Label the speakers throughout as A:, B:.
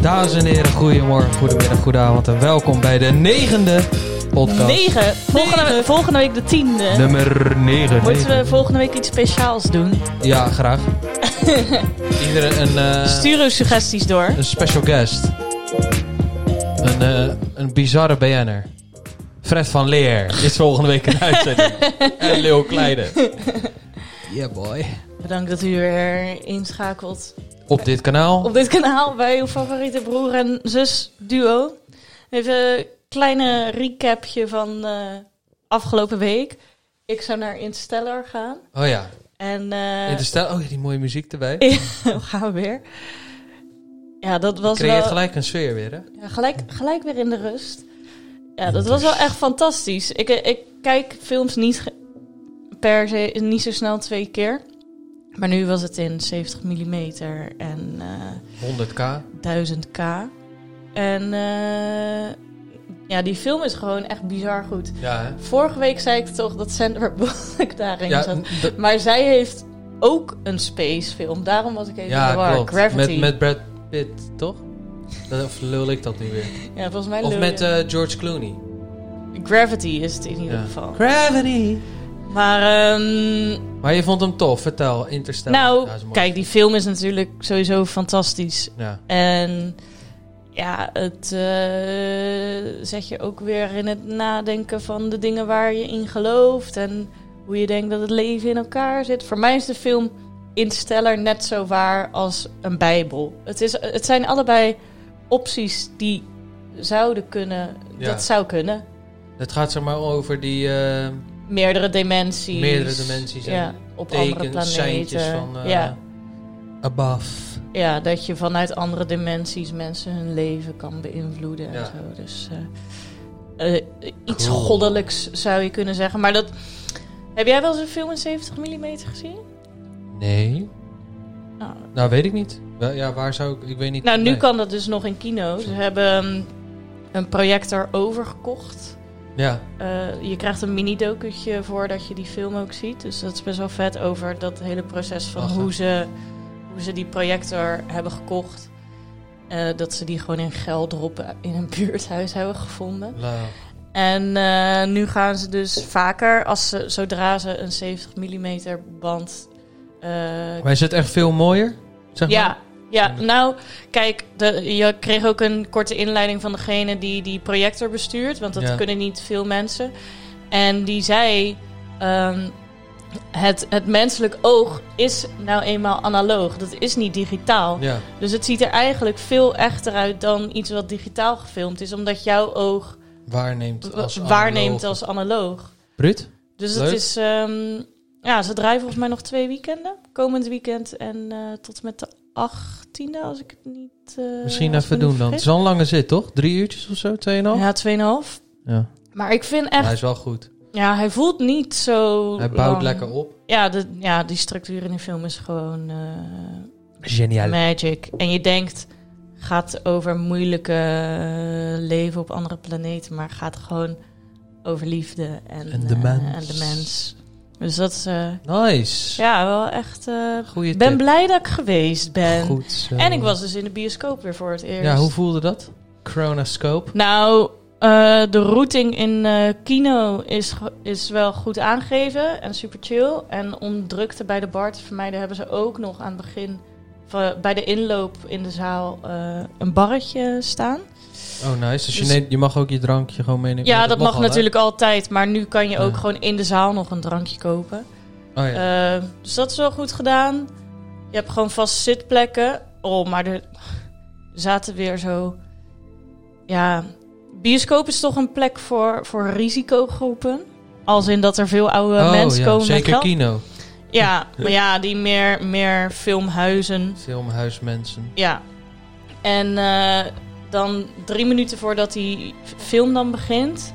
A: Dames en heren, goedemorgen, goedemiddag, goedenavond en welkom bij de negende podcast.
B: 9. Volgende,
A: Negen.
B: we- volgende week de tiende.
A: Nummer 9.
B: Moeten we volgende week iets speciaals doen?
A: Ja, graag. Iedereen een, eh,
B: Stuur uw suggesties door.
A: een special guest. Een, eh, een bizarre BN'er. Fred van Leer is volgende week een uitzending. en Leo Kleine. Yeah boy.
B: Bedankt dat u weer inschakelt
A: Op dit kanaal.
B: op dit kanaal bij uw favoriete broer en zus duo. Even een kleine recapje van eh, afgelopen week. Ik zou naar Interstellar gaan.
A: Oh ja.
B: En eh,
A: In de stijl. Oh ja, die mooie muziek erbij.
B: gaan we weer. Ja, dat was
A: Creëert
B: wel...
A: gelijk een sfeer weer hè.
B: Ja, gelijk, gelijk weer in de rust. Ja, dat was wel echt fantastisch. Ik, eh, ik kijk films niet ge- per se, niet zo snel twee keer. Maar nu was het in 70 mm en eh,
A: 100k.
B: 1000k. En eh, ja, die film is gewoon echt bizar goed.
A: Ja hè.
B: Vorige week zei ik toch dat Sandra Bullock daarin
A: Ja,
B: zat.
A: dat-
B: Maar zij heeft ook een space film. Daarom was ik even in de war. Gravity.
A: Met, met Brad Pitt, toch? Dat- Of lul ik dat nu weer?
B: ja, volgens mij
A: Of
B: lul
A: met
B: je.
A: eh, George Clooney.
B: Gravity is het in ieder
A: Ja.
B: geval.
A: Gravity!
B: Maar ehm,
A: Maar je vond hem tof, vertel. Interstellar.
B: nou,
A: Ja, is mooi.
B: kijk, die film is natuurlijk sowieso fantastisch.
A: Ja.
B: En ja, het eh, zet je ook weer in het nadenken van de dingen waar je in gelooft. En hoe je denkt dat het leven in elkaar zit. Voor mij is de film Interstellar net zo waar als een bijbel. Het, is, het zijn allebei opties die zouden kunnen.
A: Ja.
B: Dat zou kunnen.
A: Het gaat zeg maar over die eh,
B: Meerdere dimensies.
A: meerdere dimensies en
B: Ja, op andere
A: tekens,
B: planeten.
A: seintjes van... eh,
B: ja.
A: Above.
B: Ja, dat je vanuit andere dimensies mensen hun leven kan beïnvloeden en
A: Ja.
B: zo. Dus eh, eh, iets
A: Cool.
B: goddelijks zou je kunnen zeggen. Maar dat. Heb jij wel eens een film in 70 mm gezien?
A: Nee.
B: Nou,
A: Nou, weet ik niet. Wel, Ja, waar zou ik... Ik weet niet.
B: nou, nu
A: Nee.
B: kan dat dus nog in kino. Ze hebben ehm, een projector overgekocht.
A: Ja.
B: Eh, je krijgt een mini-docutje voordat je die film ook ziet. Dus dat is best wel vet over dat hele proces van
A: Lachen.
B: hoe ze, hoe ze die projector hebben gekocht. Eh, dat ze die gewoon in Geldrop in een buurthuis hebben gevonden.
A: Nou,
B: En eh, nu gaan ze dus vaker, als ze, zodra ze een 70 mm band... eh,
A: Maar is het echt veel mooier? Zeg maar?
B: ja, ja,
A: Ja.
B: nou, kijk, de, je kreeg ook een korte inleiding van degene die die projector bestuurt, want dat
A: Ja.
B: kunnen niet veel mensen. En die zei: ehm, het, het menselijk oog is nou eenmaal analoog, dat is niet digitaal.
A: Ja.
B: Dus het ziet er eigenlijk veel echter uit dan iets wat digitaal gefilmd is, omdat jouw oog
A: Waarneemt
B: wa-
A: als
B: waarneemt
A: analoog.
B: als analoog.
A: Brut?
B: Dus
A: Leuk.
B: het is. ehm, ja, ze draaien volgens mij nog twee weekenden. Komend weekend en eh, tot en met de 18e, als ik het niet. eh,
A: Misschien
B: als ik
A: even
B: me
A: doen
B: niet
A: dan. Het is
B: vergis.
A: al een lange zit, toch? Drie uurtjes of zo? Tweeënhalf?
B: Ja, 2,5.
A: ja.
B: Maar ik vind
A: Maar
B: echt. Oh.
A: hij is wel goed.
B: Ja, hij voelt niet zo.
A: Hij bouwt
B: lang.
A: lekker op.
B: Ja, de, ja, die structuur in de film is gewoon eh,
A: Geniaal.
B: magic. En je denkt. Gaat over moeilijke eh, leven op andere planeten, maar gaat gewoon over liefde en,
A: En de
B: eh,
A: mens.
B: en de mens. Dus dat is eh,
A: Nice.
B: ja, wel echt eh,
A: Goeie
B: Ik ben
A: tip.
B: blij dat ik geweest ben.
A: Goed zo.
B: En ik was dus in de bioscoop weer voor het eerst.
A: Ja, hoe voelde dat? Chronoscope.
B: Nou, eh, de routing in eh, kino is, ge- is wel goed aangegeven en super chill. En om drukte bij de bar te vermijden hebben ze ook nog aan het begin... van- Bij de inloop in de zaal eh, een barretje staan.
A: Oh, nice. Dus je,
B: Dus-
A: neemt, je mag ook je drankje gewoon meenemen.
B: Ja, dat mag
A: al, hè?
B: natuurlijk altijd. Maar nu kan je ook
A: Ja.
B: gewoon in de zaal nog een drankje kopen.
A: Oh, ja.
B: Eh, dus dat is wel goed gedaan. Je hebt gewoon vast zitplekken. Oh, maar er zaten weer zo. Ja, bioscoop is toch een plek voor, voor risicogroepen. Als in dat er veel oude
A: oh,
B: mensen
A: ja.
B: komen
A: Zeker
B: met geld.
A: kino.
B: Ja, maar ja, die meer, meer filmhuizen.
A: Filmhuismensen.
B: Ja. En eh, dan drie minuten voordat die film dan begint,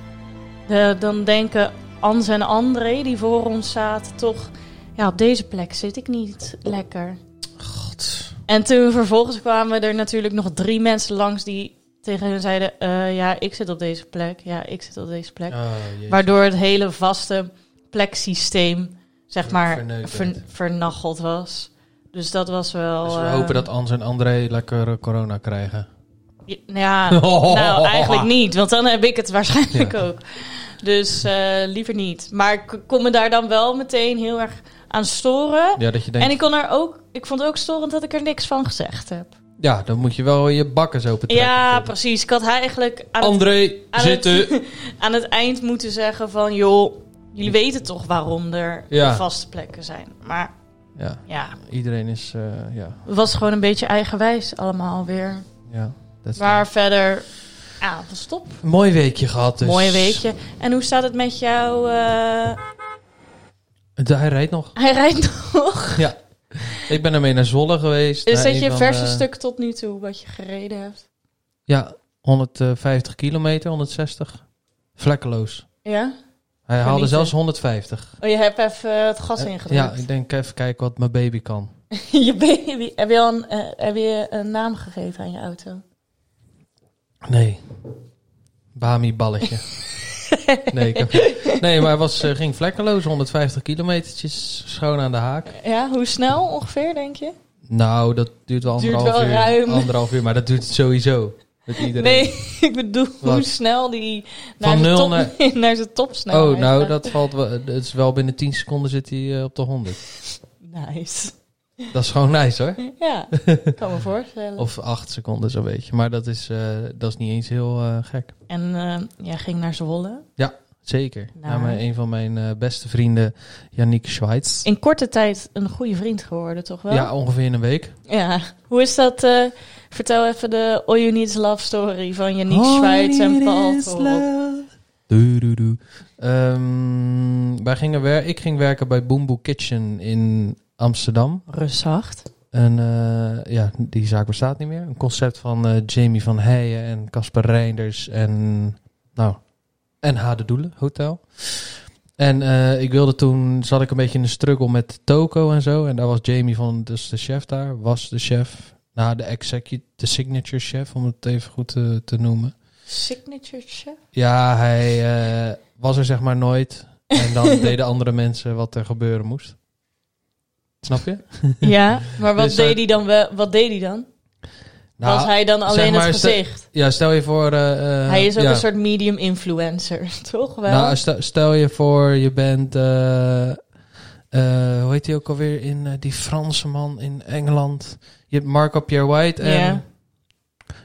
B: de- dan denken Ans en André, die voor ons zaten, toch... Ja, op deze plek zit ik niet lekker.
A: God.
B: En toen vervolgens kwamen er natuurlijk nog drie mensen langs die tegen hun zeiden... eh, ja, ik zit op deze plek. Ja, ik zit op deze plek.
A: Oh, jee.
B: Waardoor het hele vaste pleksysteem, zeg
A: Ja,
B: maar,
A: verneukt
B: ver-
A: werd.
B: vernacheld was. Dus dat was wel...
A: Dus we
B: eh,
A: hopen dat Ans en André lekker eh, corona krijgen.
B: Ja, nou eigenlijk niet, want dan heb ik het waarschijnlijk ook. Dus eh, liever niet. Maar ik kon me daar dan wel meteen heel erg aan storen.
A: Ja, dat je denkt,
B: En ik, kon er ook, ik vond het ook storend dat ik er niks van gezegd heb.
A: ja, dan moet je wel je bakken zo betrekken.
B: Ja, precies. Ik had eigenlijk aan het,
A: André,
B: aan
A: zitten.
B: aan het eind moeten zeggen van... joh, jullie weten toch waarom er
A: Ja.
B: vaste plekken zijn. Maar
A: Ja,
B: ja,
A: iedereen is, eh, ja,
B: het was gewoon een beetje eigenwijs allemaal weer.
A: ja. Dat is
B: Maar verder, ja, was top.
A: een mooi weekje gehad dus.
B: Mooi weekje. En hoe staat het met jou? eh,
A: De- Hij rijdt nog.
B: hij rijdt nog.
A: Ik ben ermee naar Zwolle geweest.
B: Is
A: naar
B: dat
A: een
B: je
A: van
B: verse
A: de-
B: stuk tot nu toe wat je gereden hebt?
A: Ja, 150 kilometer, 160. Vlekkeloos.
B: Ja?
A: Hij haalde
B: Genieten.
A: zelfs 150.
B: Oh, je hebt even eh, het gas
A: Eh,
B: ingedrukt.
A: ja, ik denk even kijken wat mijn baby kan.
B: je baby. Heb je, al een, eh, heb je een naam gegeven aan je auto?
A: Nee. Bami balletje. nee, ik heb- nee, maar hij was, eh, ging vlekkeloos. 150 kilometertjes, schoon aan de haak.
B: Ja, hoe snel ongeveer, denk je?
A: Nou, dat duurt wel
B: Duurt
A: anderhalf
B: wel
A: uur.
B: ruim.
A: Anderhalf uur, maar dat duurt het sowieso. Met iedereen.
B: Nee, ik bedoel hoe
A: Wat?
B: snel die
A: Van
B: naar zijn
A: nul
B: top,
A: naar-
B: naar zijn topsnelheid
A: oh, nou,
B: gaat.
A: dat valt wel. Het is wel binnen 10 seconden zit hij eh, op de 100.
B: Nice.
A: Dat is gewoon nice hoor.
B: Ja, ik kan me voorstellen.
A: Of 8 seconden zo'n beetje. Maar dat is, eh, dat is niet eens heel eh, gek.
B: En eh, jij ging naar Zwolle.
A: Zeker.
B: Nou.
A: Nou. mijn een van mijn eh, beste vrienden, Yannick Schweitz.
B: In korte tijd een goede vriend geworden, toch wel?
A: Ja, ongeveer in een week.
B: Ja. Hoe is dat? eh, vertel even de All You Need Is Love story van Yannick Schweiz en Paul. Torp.
A: Doe, doe, doe. Ehm, wij gingen wer ik ging werken bij Boomboe Kitchen in Amsterdam.
B: Rustzacht.
A: Een, eh, ja, die zaak bestaat niet meer. Een concept van eh, Jamie van Heijen en Casper Reinders en, nou, en Hade Doelen Hotel. En eh, ik wilde toen, zat ik een beetje in de struggle met Toko en zo. En daar was Jamie van, dus de chef daar, was de chef. Nou, de executive, de signature chef, om het even goed eh, te, te noemen.
B: Signature chef?
A: Ja, hij eh, was er zeg maar nooit. En dan deden andere mensen wat er gebeuren moest. Snap je?
B: ja, maar wat
A: Dus, eh, Nou,
B: deed hij dan wel? Wat deed hij dan? Was hij dan alleen
A: maar,
B: het
A: stel-
B: gezicht?
A: Ja, stel je voor. eh, eh,
B: hij is ook
A: ja.
B: een soort medium influencer, toch wel?
A: Nou, stel, stel je voor, je bent. eh, eh, hoe heet hij ook alweer? In eh, die Franse man in Engeland. Je hebt Marco Pierre White en
B: Ja.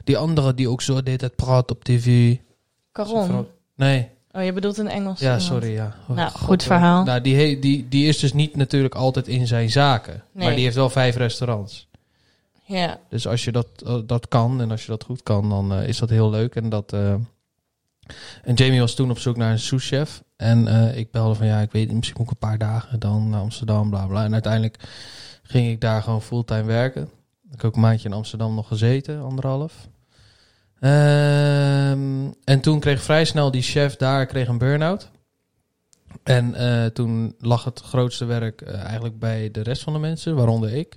A: die andere die ook zo deed het praat op tv. Zo'n
B: Caron.
A: vrouw- Nee,
B: Oh, je bedoelt een Engels.
A: ja,
B: iemand.
A: sorry. Ja. Oh,
B: Nou,
A: God,
B: goed
A: eh,
B: verhaal.
A: Nou, die, he- die, die is dus niet natuurlijk altijd in zijn zaken.
B: Nee.
A: Maar die heeft wel vijf restaurants.
B: Ja.
A: Dus als je dat, eh, dat kan en als je dat goed kan, dan eh, is dat heel leuk. En, dat, eh, en Jamie was toen op zoek naar een souschef. En eh, ik belde van ja, ik weet niet, misschien moet ik een paar dagen dan naar Amsterdam, bla bla. En uiteindelijk ging ik daar gewoon fulltime werken. Ik heb ook een maandje in Amsterdam nog gezeten, anderhalf. Ehm, en toen kreeg vrij snel die chef daar kreeg een burn-out. En eh, toen lag het grootste werk eh, eigenlijk bij de rest van de mensen, waaronder ik.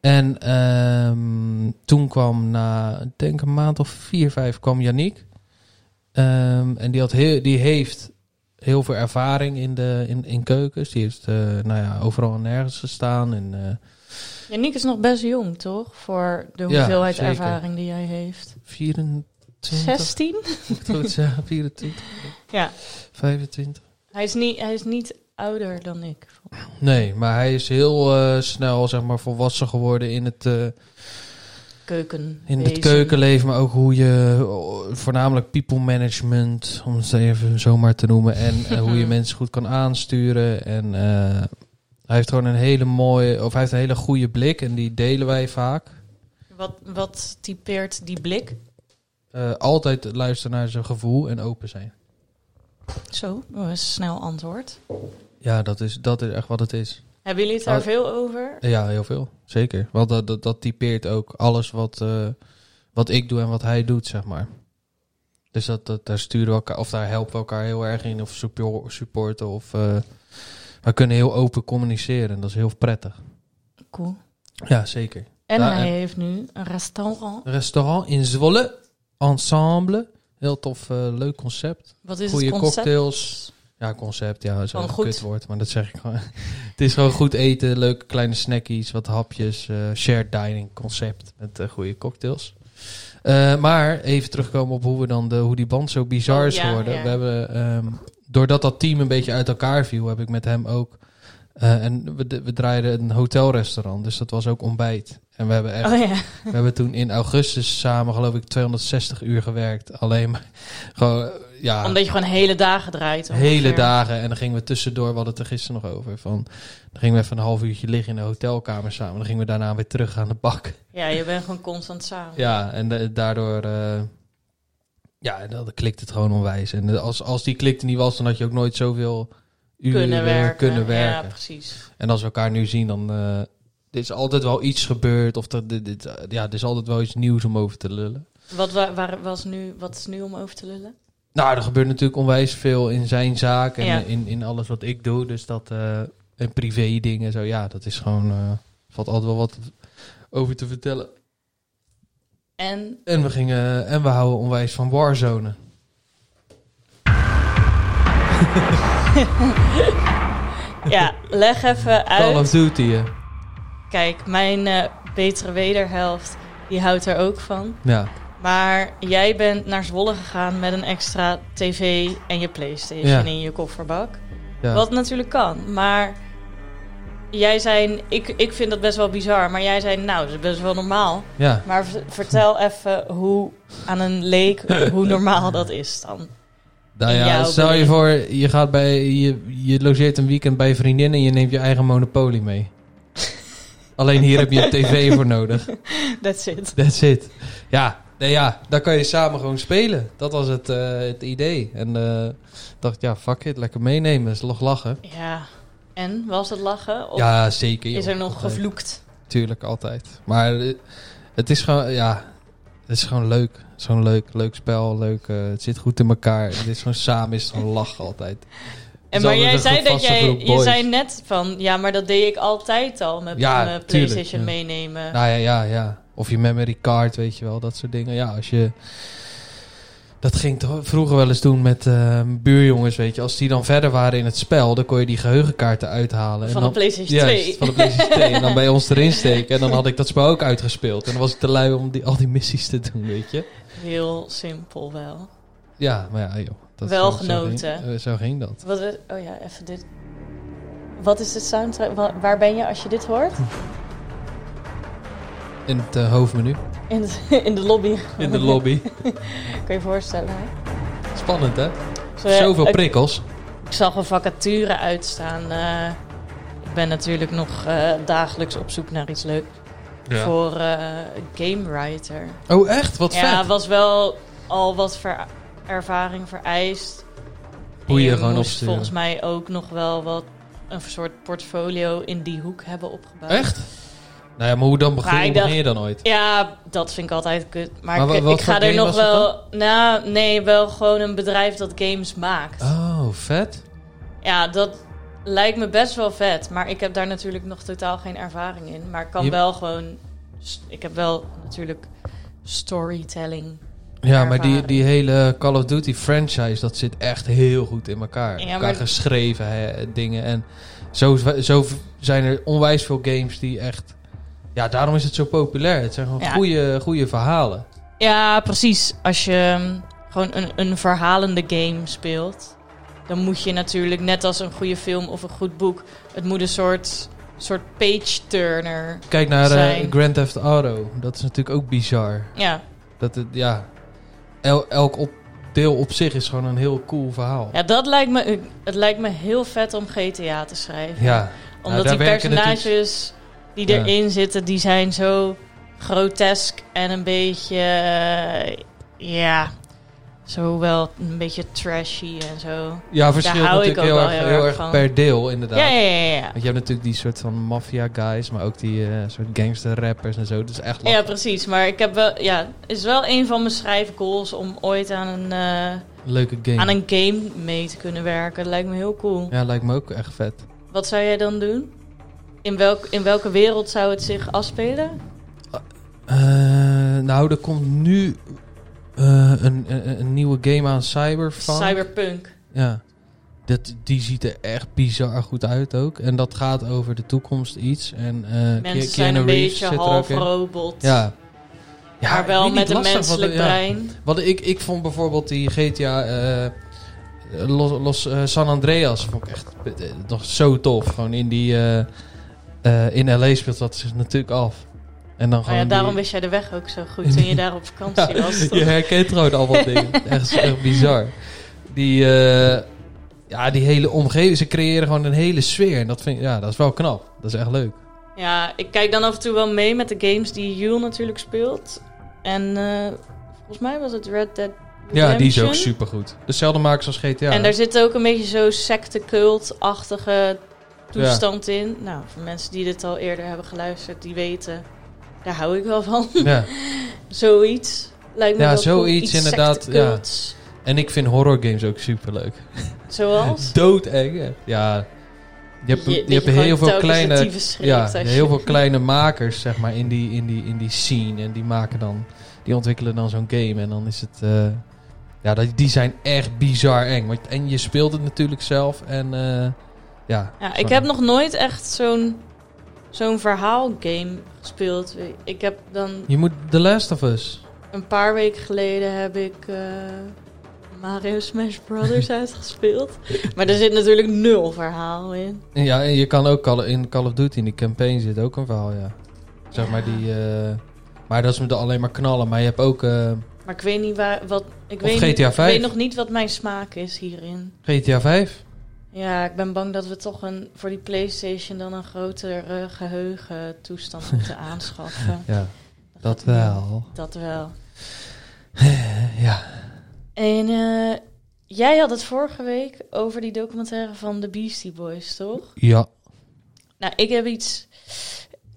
A: En ehm, toen kwam na, ik denk een maand of vier, vijf, kwam Yannick. Ehm, en die, had heel, die heeft heel veel ervaring in, de, in, in keukens. Die heeft eh, nou ja, overal en nergens gestaan. En, eh,
B: Yannick is nog best jong, toch? Voor de
A: Ja,
B: hoeveelheid
A: zeker.
B: ervaring die hij heeft.
A: 24,
B: 16?
A: moet ik het goed zeggen, 24,
B: Ja.
A: 25.
B: Hij is niet, hij is niet ouder dan ik.
A: Nee, maar hij is heel eh, snel zeg maar, volwassen geworden in het... eh,
B: Keuken.
A: In het keukenleven, maar ook hoe je oh, voornamelijk people management, om het even zomaar te noemen, en eh, hoe je mensen goed kan aansturen. En eh, hij heeft gewoon een hele mooie, of hij heeft een hele goede blik en die delen wij vaak.
B: Wat, wat typeert die blik?
A: Eh, altijd luisteren naar zijn gevoel en open zijn.
B: Zo, dat is een snel antwoord.
A: Ja, dat is, dat is echt wat het is.
B: Hebben jullie het daar
A: Oh.
B: veel over?
A: Ja, heel veel. Zeker. Want dat, dat, dat typeert ook alles wat, eh, wat ik doe en wat hij doet, zeg maar. Dus dat, dat, daar sturen we elkaar, of daar helpen we elkaar heel erg in, of suppo- supporten, of... eh, we kunnen heel open communiceren, dat is heel prettig.
B: Cool.
A: Ja, zeker.
B: En
A: Ja,
B: hij
A: en-
B: heeft nu een restaurant.
A: Restaurant in Zwolle, Ensemble. Heel tof, eh, leuk concept.
B: Wat is
A: Goede
B: het concept?
A: cocktails. Ja, concept, ja, dat is
B: Gewoon
A: een
B: goed.
A: kut woord, maar dat zeg ik gewoon. het is gewoon goed eten, leuke kleine snackies, wat hapjes, eh, shared dining concept met eh, goede cocktails. Eh, maar even terugkomen op hoe, we dan de, hoe die band zo bizar
B: Oh,
A: is
B: ja,
A: geworden.
B: ja.
A: We hebben, ehm, doordat dat team een beetje uit elkaar viel, heb ik met hem ook... eh, en we, we draaiden een hotelrestaurant, dus dat was ook ontbijt. En we hebben echt
B: Oh ja.
A: we hebben toen in augustus samen, geloof ik, 260 uur gewerkt. Alleen maar gewoon, ja,
B: Omdat je gewoon hele dagen draait. ongeveer.
A: hele dagen. En dan gingen we tussendoor, we hadden het er gisteren nog over. Van, dan gingen we even een half uurtje liggen in de hotelkamer samen. Dan gingen we daarna weer terug aan de bak.
B: Ja, je bent gewoon constant samen.
A: Ja, en da- daardoor, eh, ja, dan klikt het gewoon onwijs. En als, als die klikte niet was, dan had je ook nooit zoveel uren
B: Kunnen werken.
A: kunnen
B: Ja,
A: werken.
B: precies.
A: En als we elkaar nu zien, dan eh, er is altijd wel iets gebeurd. Of er, dit, dit, eh, ja, er is altijd wel iets nieuws om over te lullen.
B: Wat, wa- waar, was nu, wat is nu om over te lullen?
A: Nou, er gebeurt natuurlijk onwijs veel in zijn zaak en
B: Ja.
A: eh, in, in alles wat ik doe. Dus dat eh, en privé dingen en zo. Ja, dat is gewoon. eh, valt altijd wel wat over te vertellen.
B: En
A: En we gingen. En we houden onwijs van Warzone.
B: ja, leg even
A: Call of
B: uit.
A: Duty. eh.
B: Kijk, mijn eh, betere wederhelft, die houdt er ook van.
A: Ja.
B: Maar jij bent naar Zwolle gegaan met een extra tv en je Playstation
A: Ja.
B: in je kofferbak.
A: ja.
B: Wat natuurlijk kan, maar jij zei, ik, ik vind dat best wel bizar, maar jij zei, nou, dat is best wel normaal.
A: Ja.
B: Maar v- vertel even hoe aan een leek, hoe normaal dat is dan.
A: Nou
B: in
A: ja,
B: jouw
A: stel je
B: beleving.
A: voor, je, gaat bij, je, je logeert een weekend bij je vriendin en je neemt je eigen Monopoly mee. Alleen hier heb je een tv voor nodig.
B: That's it.
A: That's it. Ja, nee, ja, daar kan je samen gewoon spelen. Dat was het, eh, het idee. En eh, ik dacht, ja, fuck it, lekker meenemen. Is nog lachen.
B: Ja, en was het lachen? Of
A: ja, zeker.
B: is
A: joh.
B: er nog
A: Altijd.
B: gevloekt?
A: Tuurlijk, altijd. Maar eh, het is gewoon, ja, het is gewoon leuk. Zo'n leuk, leuk spel. Leuk, eh, het zit goed in elkaar. het is gewoon samen, is het gewoon lachen altijd.
B: En
A: Zo
B: maar
A: met
B: jij
A: een
B: zei dat
A: gevaste
B: jij,
A: groep
B: je
A: boys.
B: zei net van, ja, maar dat deed ik altijd al met
A: Ja,
B: mijn eh,
A: tuurlijk,
B: PlayStation
A: ja.
B: meenemen.
A: Nou ja, ja, ja. Of je memory card, weet je wel, dat soort dingen. Ja, als je... Dat ging toch vroeger wel eens doen met eh, buurjongens, weet je. Als die dan verder waren in het spel, dan kon je die geheugenkaarten uithalen.
B: van
A: en dan,
B: de PlayStation
A: Juist,
B: 2.
A: van de PlayStation 2. En dan bij ons erin steken. En dan had ik dat spel ook uitgespeeld. En dan was ik te lui om die, al die missies te doen, weet je.
B: Heel simpel wel.
A: Ja, maar ja, joh. Dat
B: Wel
A: zo- zo
B: genoten.
A: ging- eh, Zo ging dat.
B: Wat is, oh ja, even dit. Wat is de soundtrack? Wa- Waar ben je als je dit hoort?
A: Hm. In het eh, hoofdmenu.
B: In de, in de lobby.
A: In de lobby.
B: Kun je je voorstellen. hè?
A: Spannend, hè?
B: Zo, ja,
A: Zoveel
B: ik,
A: prikkels.
B: ik zag een vacature uitstaan. eh, ik ben natuurlijk nog eh, dagelijks op zoek naar iets leuks. Voor eh, een game writer.
A: Oh, echt? Wat
B: ja,
A: vet.
B: was wel al wat ver- ervaring vereist.
A: Hoe je
B: En
A: gewoon
B: moest
A: opsturen.
B: volgens mij ook nog wel wat een soort portfolio in die hoek hebben opgebouwd.
A: Echt? Nou ja, maar hoe dan begin,
B: Eh, Maar ik
A: hoe begin
B: dacht-
A: je dan ooit?
B: Ja, dat vind ik altijd kut. Maar,
A: Maar wa-
B: ik,
A: wat
B: ik
A: voor
B: ga er
A: game
B: nog
A: was het
B: wel. Nou, nee, wel gewoon een bedrijf dat games maakt.
A: Oh, vet.
B: Ja, dat lijkt me best wel vet. Maar ik heb daar natuurlijk nog totaal geen ervaring in. Maar ik kan
A: Je-
B: wel gewoon. s- Ik heb wel natuurlijk storytelling.
A: Ja, maar die,
B: ervaring.
A: die hele Call of Duty franchise, dat zit echt heel goed in elkaar.
B: Ja,
A: Ja,
B: maar-
A: geschreven hè, dingen. En zo, zo v- zijn er onwijs veel games die echt... Ja, daarom is het zo populair. Het zijn gewoon
B: Ja.
A: goede, goede verhalen.
B: Ja, precies. Als je mm, gewoon een, een verhalende game speelt, dan moet je natuurlijk, net als een goede film of een goed boek, het moet een soort, soort page-turner.
A: Kijk naar eh,
B: Zijn.
A: Grand Theft Auto. Dat is natuurlijk ook bizar.
B: Ja.
A: Dat het, ja... el- elk op, deel op zich is gewoon een heel cool verhaal. Ja.
B: Ja, dat lijkt me, het lijkt me heel vet om GTA te schrijven.
A: Nou,
B: Omdat
A: daar
B: die
A: werken
B: personages die
A: Ja.
B: erin zitten, die zijn zo grotesk en een beetje, eh, ja, zo wel een beetje trashy en zo.
A: Ja, verschilt
B: hou ik
A: natuurlijk
B: ook
A: heel
B: wel
A: erg,
B: heel
A: heel
B: erg
A: erg
B: van.
A: per deel, inderdaad.
B: Ja, ja, ja, ja.
A: Want je hebt natuurlijk die soort van maffia guys, maar ook die eh, soort gangster rappers en zo. Dus echt
B: Ja,
A: lachen.
B: precies. Maar ik heb wel, ja, is wel een van mijn schrijfgoals om ooit aan een, eh,
A: leuke game.
B: aan een game mee te kunnen werken. Dat lijkt me heel cool.
A: Ja, lijkt me ook echt vet.
B: Wat zou jij dan doen? In, welk, in welke wereld zou het zich afspelen?
A: Eh, nou, er komt nu eh, een, een, een nieuwe game aan, Cyberpunk.
B: Cyberpunk.
A: Ja. Dat, die ziet er echt bizar goed uit ook. En dat gaat over de toekomst iets. En eh Ke-
B: Mensen zijn
A: Keanu
B: een
A: Reeves
B: beetje
A: zit er
B: half
A: ook in.
B: robot.
A: Ja. Ja,
B: maar
A: ik
B: wel
A: weet niet,
B: met een
A: lastig, want,
B: menselijk
A: ja.
B: brein.
A: Want ik, ik vond bijvoorbeeld die GTA eh, Los, Los eh, San Andreas vond ik echt eh, nog zo tof. Gewoon in die eh, eh, in LA speelt dat zich natuurlijk af. En dan
B: Maar
A: gewoon
B: Nou ja, daarom
A: die-
B: wist jij de weg ook zo goed toen je daar op vakantie was. toch?
A: je herkent gewoon allemaal dingen. Echt, echt bizar. Die, eh, ja, die hele omgeving, ze creëren gewoon een hele sfeer. En dat, vind, ik- ja, dat is wel knap. Dat is echt leuk.
B: Ja, ik kijk dan af en toe wel mee met de games die Jules natuurlijk speelt. En eh, volgens mij was het Red Dead Redemption.
A: Ja, die is ook supergoed. Dezelfde makers als GTA.
B: En daar zit ook een beetje zo'n secte-cult-achtige toestand in. Nou, voor mensen die dit al eerder hebben geluisterd, die weten... Daar hou ik wel van.
A: ja.
B: Zoiets. Lijkt me
A: Ja,
B: wel cool.
A: zoiets
B: Iets
A: inderdaad,
B: sectecults.
A: En ik vind horror games ook superleuk.
B: Zoals?
A: Doodeng. hè? Ja. Je hebt, je,
B: dat
A: hebt
B: gewoon
A: heel veel
B: telkens het
A: kleine
B: tyfus schreeuwt
A: Ja,
B: als je-
A: heel veel kleine makers, zeg maar, in die, in die, in die scene. En die maken dan, die ontwikkelen dan zo'n game. En dan is het. eh, ja, dat, die zijn echt bizar eng. Want, en je speelt het natuurlijk zelf. En eh, ja.
B: Ja, ik
A: Sorry.
B: heb nog nooit echt zo'n zo'n verhaalgame gespeeld. Ik heb dan
A: Je moet The Last of Us.
B: een paar weken geleden heb ik eh, Mario Smash Brothers uitgespeeld. Maar er zit natuurlijk nul verhaal in.
A: En ja, en je kan ook Call, in Call of Duty, in die campaign zit ook een verhaal, ja. Zeg maar
B: Ja.
A: die. eh, maar dat is met de- alleen maar knallen. Maar je hebt ook eh,
B: Maar ik weet niet waar, wat.
A: Of
B: Ik weet,
A: GTA
B: ik weet
A: 5.
B: nog niet wat mijn smaak is hierin.
A: GTA 5.
B: Ja, ik ben bang dat we toch een, voor die PlayStation dan een groter eh, geheugen toestand moeten aanschaffen.
A: Ja, dat
B: gaat niet.
A: wel.
B: Dat wel.
A: Ja.
B: En eh, jij had het vorige week over die documentaire van de Beastie Boys, toch?
A: Ja.
B: Nou, ik heb iets.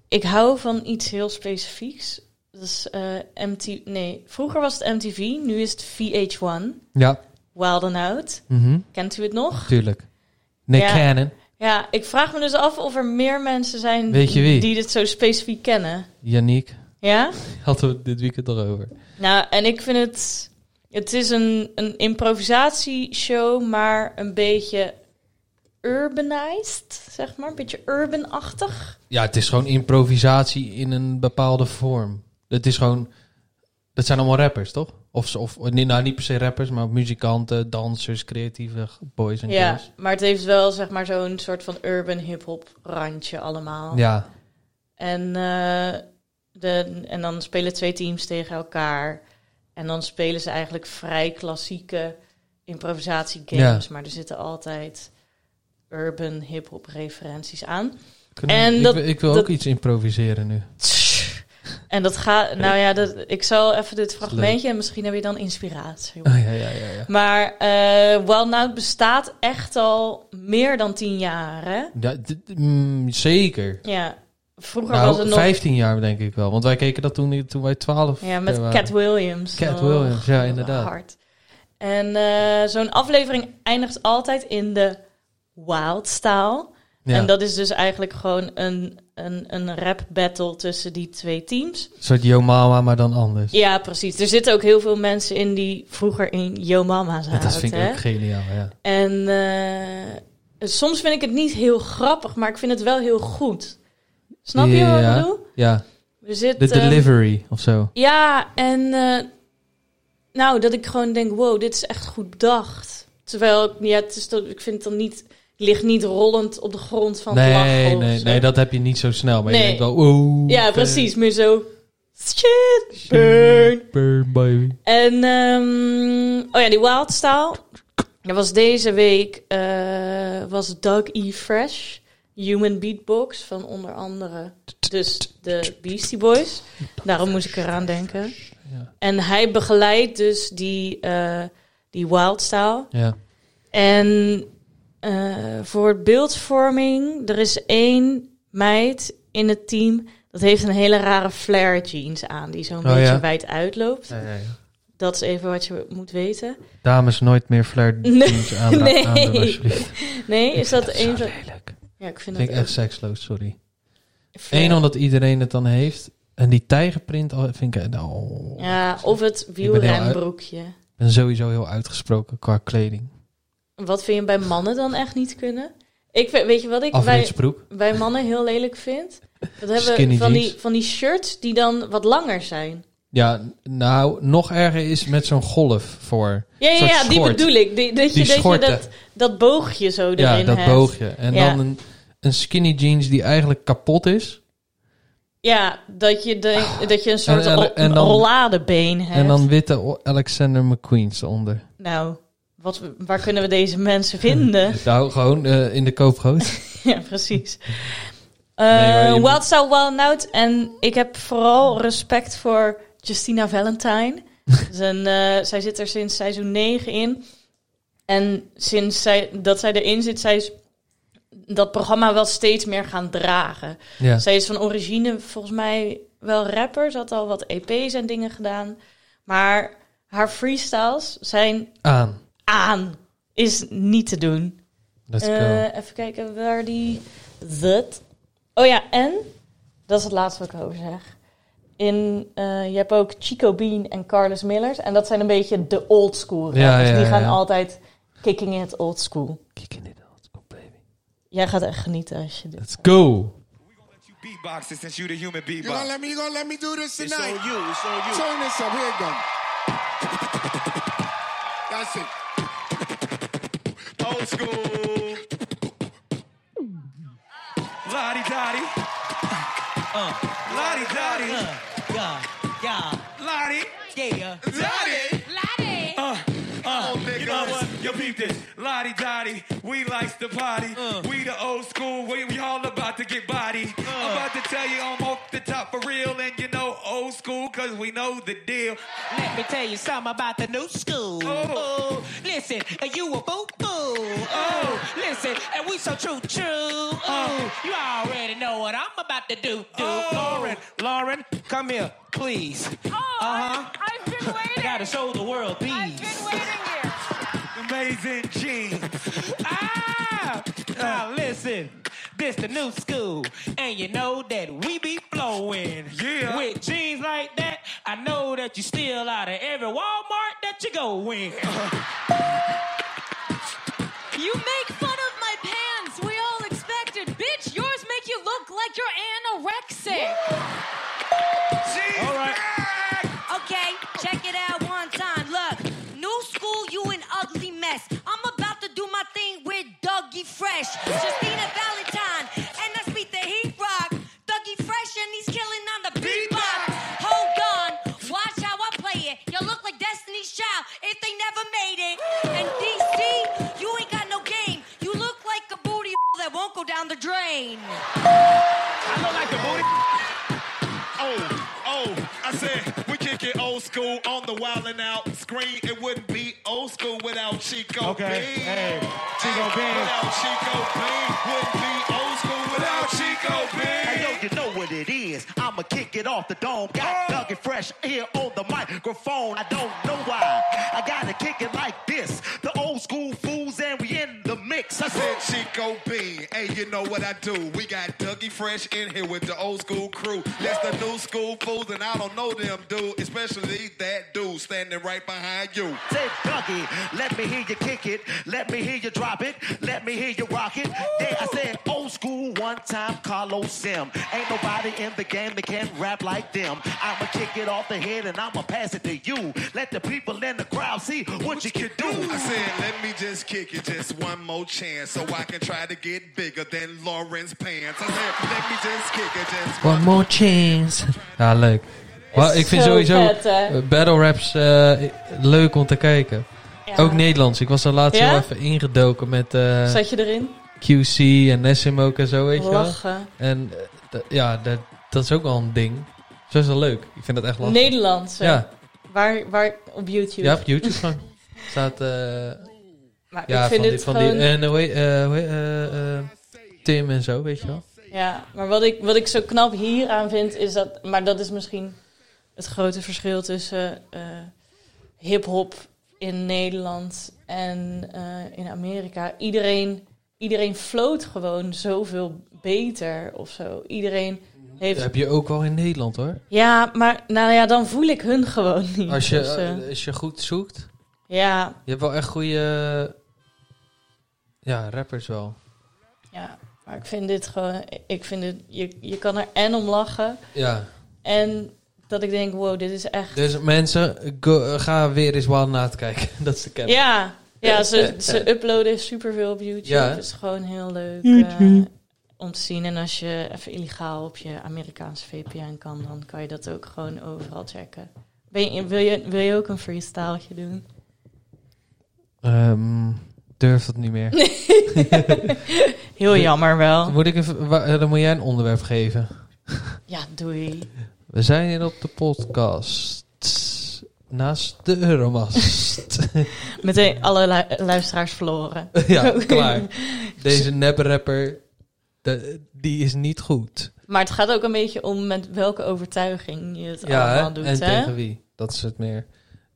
B: Ik hou van iets heel specifieks. Dat is eh MTV. Nee, vroeger was het MTV, nu is het VH1.
A: Ja.
B: Wild and Out.
A: Mhm.
B: Kent u het nog?
A: Tuurlijk. Nick
B: Ja.
A: Cannon.
B: Ja, ik vraag me dus af of er meer mensen zijn
A: Weet je wie?
B: die dit zo specifiek kennen.
A: Yannick.
B: Ja?
A: Hadden we het dit weekend erover.
B: Nou, en ik vind het. Het is een, een improvisatieshow, maar een beetje urbanized, zeg maar. Een beetje urbanachtig.
A: Ja, het is gewoon improvisatie in een bepaalde vorm. Het is gewoon... Dat zijn allemaal rappers, toch? Of, ze- of nee, nou, niet per se rappers, maar muzikanten, dansers, creatieve g- boys en
B: Ja,
A: girls.
B: maar het heeft wel, zeg maar, zo'n soort van urban hip-hop randje allemaal.
A: Ja.
B: En, eh, de, en dan spelen twee teams tegen elkaar. En dan spelen ze eigenlijk vrij klassieke improvisatiegames. Maar er zitten altijd urban hip-hop referenties aan.
A: Kunnen we-
B: En
A: ik,
B: dat-
A: wil- ik wil
B: dat-
A: ook iets improviseren nu.
B: En dat gaat, nou ja, dat, ik zal even dit fragmentje en misschien heb je dan inspiratie.
A: Oh, ja, ja, ja, ja.
B: Maar eh Wild Now bestaat echt al meer dan tien jaar, hè?
A: Ja, d- d- mm, zeker.
B: Ja, vroeger was het
A: Nou,
B: nog...
A: 15 jaar denk ik wel. Want wij keken dat toen, toen wij 12
B: Ja, met
A: waren.
B: Cat Williams.
A: Cat
B: Oh,
A: Williams, ja,
B: wat
A: inderdaad.
B: Hard. En eh, zo'n aflevering eindigt altijd in de wild-style.
A: Ja.
B: En dat is dus eigenlijk gewoon een, een, een rap-battle tussen die twee teams.
A: Een soort Yo Mama, maar dan anders.
B: Ja, precies. Er zitten ook heel veel mensen in die vroeger in Yo Mama zaten.
A: dat vind ik
B: hè?
A: ook geniaal, ja.
B: En eh, soms vind ik het niet heel grappig, maar ik vind het wel heel goed. Snap je wat
A: Ja.
B: ik bedoel?
A: Ja,
B: Er zit,
A: de
B: ehm,
A: delivery of zo.
B: Ja, en eh, nou, dat ik gewoon denk, wow, dit is echt goed bedacht. Terwijl, ik- ja, het is dat, ik vind het dan niet, ik lig niet rollend op de grond van het
A: Nee,
B: lachen of
A: nee,
B: zo.
A: nee, dat heb je niet zo snel. Maar
B: Nee.
A: je denkt wel, oeh.
B: Ja,
A: vet.
B: precies, meer zo, shit, burn.
A: Burn, baby.
B: En, ehm, oh ja, die wildstaal. Er was deze week, eh, was Doug E. Fresh, Human Beatbox, van onder andere dus de Beastie Boys. Daarom moest ik eraan denken.
A: Ja.
B: En hij begeleidt dus die, eh die wildstyle.
A: Ja.
B: En eh, voor beeldvorming, er is één meid in het team... dat heeft een hele rare flare jeans aan... die zo'n
A: Oh,
B: beetje
A: ja.
B: wijd uitloopt. Dat is even wat je moet weten.
A: Dames, nooit meer flare
B: Nee.
A: jeans aanra-
B: Nee.
A: aandoen, alsjeblieft.
B: Nee,
A: Ik
B: is
A: vind
B: dat
A: zo
B: één van...
A: lelijk.
B: Ja, ik vind
A: Vind ik
B: dat
A: echt seksloos, sorry.
B: flare.
A: Eén, omdat iedereen het dan heeft. En die tijgerprint, oh, vind ik... Oh,
B: Ja, of het
A: heel uit-
B: wielrenbroekje.
A: Ik ben sowieso heel uitgesproken qua kleding.
B: Wat vind je bij mannen dan echt niet kunnen? Ik vind- weet je wat ik bij,
A: Afritsbroek.
B: bij mannen heel lelijk vind? Dat hebben
A: Skinny
B: van die,
A: jeans.
B: van die shirts die dan wat langer zijn.
A: Ja, nou, nog erger is met zo'n golf voor.
B: Ja, ja,
A: Een
B: ja
A: soort
B: die
A: schort.
B: bedoel ik. Die, dat je,
A: Die
B: dat, je
A: schorten.
B: dat, dat boogje zo erin
A: Ja, dat
B: hebt.
A: boogje. En
B: Ja.
A: dan een, een skinny jeans die eigenlijk kapot is.
B: Ja, dat je, de, dat je een soort
A: Oh. en-
B: ro-
A: en dan-
B: rolladebeen hebt.
A: En dan witte O- Alexander McQueen's onder.
B: Nou, wat, waar kunnen we deze mensen vinden?
A: Nou, gewoon eh, in de koopgoot.
B: ja, precies.
A: maar je
B: Eh
A: moet-
B: Wild Style Wild Out. En ik heb vooral respect voor Justina Valentine. Dat is een, eh, zij zit er sinds seizoen 9 in. En sinds zij, dat zij erin zit, zij is dat programma wel steeds meer gaan dragen.
A: ja.
B: Zij is van origine volgens mij wel rapper. Ze had al wat EP's en dingen gedaan. Maar haar freestyles zijn
A: Aan.
B: aan. Is niet te doen.
A: Let's go.
B: Eh, even kijken waar die zit. Oh ja, en... Dat is het laatste wat ik over zeg. In, eh, je hebt ook Chico Bean en Carlos Millers. En dat zijn een beetje de old school
A: Ja,
B: rappers.
A: ja,
B: die
A: ja,
B: gaan
A: ja.
B: altijd kicking it old school.
A: Kick in it old school, baby.
B: Jij gaat echt genieten als je dit...
A: Let's go.
C: You beatbox it since you the human
D: You gonna
C: beatbox.
D: let me? You gonna let me do this
C: It's on
D: tonight?
C: you. It's on you.
D: Turn this up. Here it go. That's it.
C: Old school. Lottie dottie. Uh. Lottie dottie.
E: Uh, yeah, yeah,
C: Lottie
E: yeah.
C: dottie.
F: Lottie.
C: Uh. Uh.
D: Oh, nigga.
C: you know what? You peep this. Lottie dottie. We likes the party.
E: Uh.
C: We the old school. We, we all about to get body. I'm about to tell you I'm off the top for real. And you know old school because we know the deal.
E: Let me tell you something about the new school.
C: Oh.
E: Ooh, listen, and you a boo boo. Oh, listen, and we so true, true. Oh, you already know what I'm about to do, do.
C: Oh.
E: Lauren, Lauren, come here, please.
F: Oh,
E: Uh-huh.
F: I've been
E: I gotta
F: waiting.
E: show the world
F: I've
E: these.
F: been waiting here.
C: Amazing jeans.
E: Ah! Now listen, this the new school, and you know that we be blowing.
C: Yeah.
E: With jeans like that, I know that you steal out of every Walmart that you go in.
F: You make fun of my pants. We all expected. Bitch, yours make you look like you're anorexic.
C: She's
E: All right.
C: back.
G: Okay, check it out one time. Look, new school, you an ugly mess. I'm about to do my thing with Dougie Fresh, Justina Valentine, and that's beat the heat rock. Dougie Fresh and he's killing on the beatbox. Hold on, watch how I play it. You look like Destiny's Child if they never made it. And DC, you ain't got no game. You look like a booty that won't go down the drain.
C: I look like a booty. Oh, oh, I said we kick it old school on the wild and out screen. It wouldn't be old school without Chico
E: Okay,
C: B.
E: hey, Chico B.
C: Without Chico B. Wouldn't be old school without Chico B.
H: Hey, yo, you know what it is. I'ma kick it off the dome. Got
C: Oh.
H: Doug and Fresh here on the microphone. I don't know why. I gotta kick it like this. The old school fools, and we in the mix. I said,
D: Said Chico B. Hey, you know what I do? We got Dougie Fresh in here with the old school crew. That's the new school fools, and I don't know them, dude. Especially that dude standing right behind you.
H: say, Dougie, let me hear you kick it. Let me hear you drop it. Let me hear you rock it. Yeah, I said, old school, one time Carlos Sim. Ain't nobody in the game that can rap like them. I'ma kick it off the head, and I'ma pass it to you. Let the people in the crowd see what, you can do.
D: I said, let me just kick it just one more chance so I can try to get bigger than Lauren's pants. I said, let me just kick it just
A: One more chance. Ja, leuk. Wel, ik vind
B: zo
A: sowieso
B: vet, hè?
A: battle raps eh, leuk om te kijken.
B: Ja.
A: Ook Nederlands. Ik was daar laatst
B: Ja?
A: heel even ingedoken met eh,
B: Zat je erin?
A: QC en Nessim ook en zo, weet je wel.
B: Lachen.
A: En eh, d- ja, dat, dat is ook wel een ding. Zo is wel leuk. Ik vind dat echt lastig.
B: Nederlandse.
A: Ja,
B: Waar, waar, op YouTube.
A: ja, op YouTube gewoon. Staat, eh
B: Maar
A: ja, van
B: ik vind
A: die,
B: het
A: van
B: gewoon...
A: die, en hoe heet- eh, hoe heet- eh, eh, Tim en zo, weet je wel.
B: Ja, maar wat ik, wat ik zo knap hieraan vind is dat... Maar dat is misschien het grote verschil tussen eh, hip-hop in Nederland en eh, in Amerika. Iedereen, iedereen float gewoon zoveel beter of zo. Iedereen
A: Dat
B: heeft...
A: heb je ook wel in Nederland hoor.
B: Ja, maar nou ja, dan voel ik hun gewoon niet.
A: Als je,
B: Dus, eh,
A: eh, als je goed zoekt,
B: ja,
A: Je hebt wel echt goede. Ja, rappers wel.
B: ja, maar ik vind dit gewoon... Ik vind dit... Je, je kan er en om lachen...
A: Ja.
B: En dat ik denk, wow, dit is echt...
A: Dus mensen, go- ga weer eens Wild Night kijken. Dat is de kennis.
B: Ja, ja ze, ze uploaden superveel op YouTube.
A: Ja, hè?
B: Het is gewoon heel leuk eh, om te zien. En als je even illegaal op je Amerikaanse VPN kan, dan kan je dat ook gewoon overal checken. Ben je, wil, je, wil je ook een freestyletje doen?
A: Ehm, durf dat niet meer.
B: Heel jammer wel.
A: Moet ik even, wa- eh, dan moet jij een onderwerp geven.
B: Ja, doei.
A: We zijn hier op de podcast. Naast de Euromast.
B: Meteen alle lu- luisteraars verloren.
A: ja, klaar. Deze neprapper, de- die is niet goed.
B: Maar het gaat ook een beetje om met welke overtuiging je het
A: Ja,
B: allemaal
A: hè?
B: doet,
A: en
B: hè?
A: tegen wie? Dat is het meer. Ik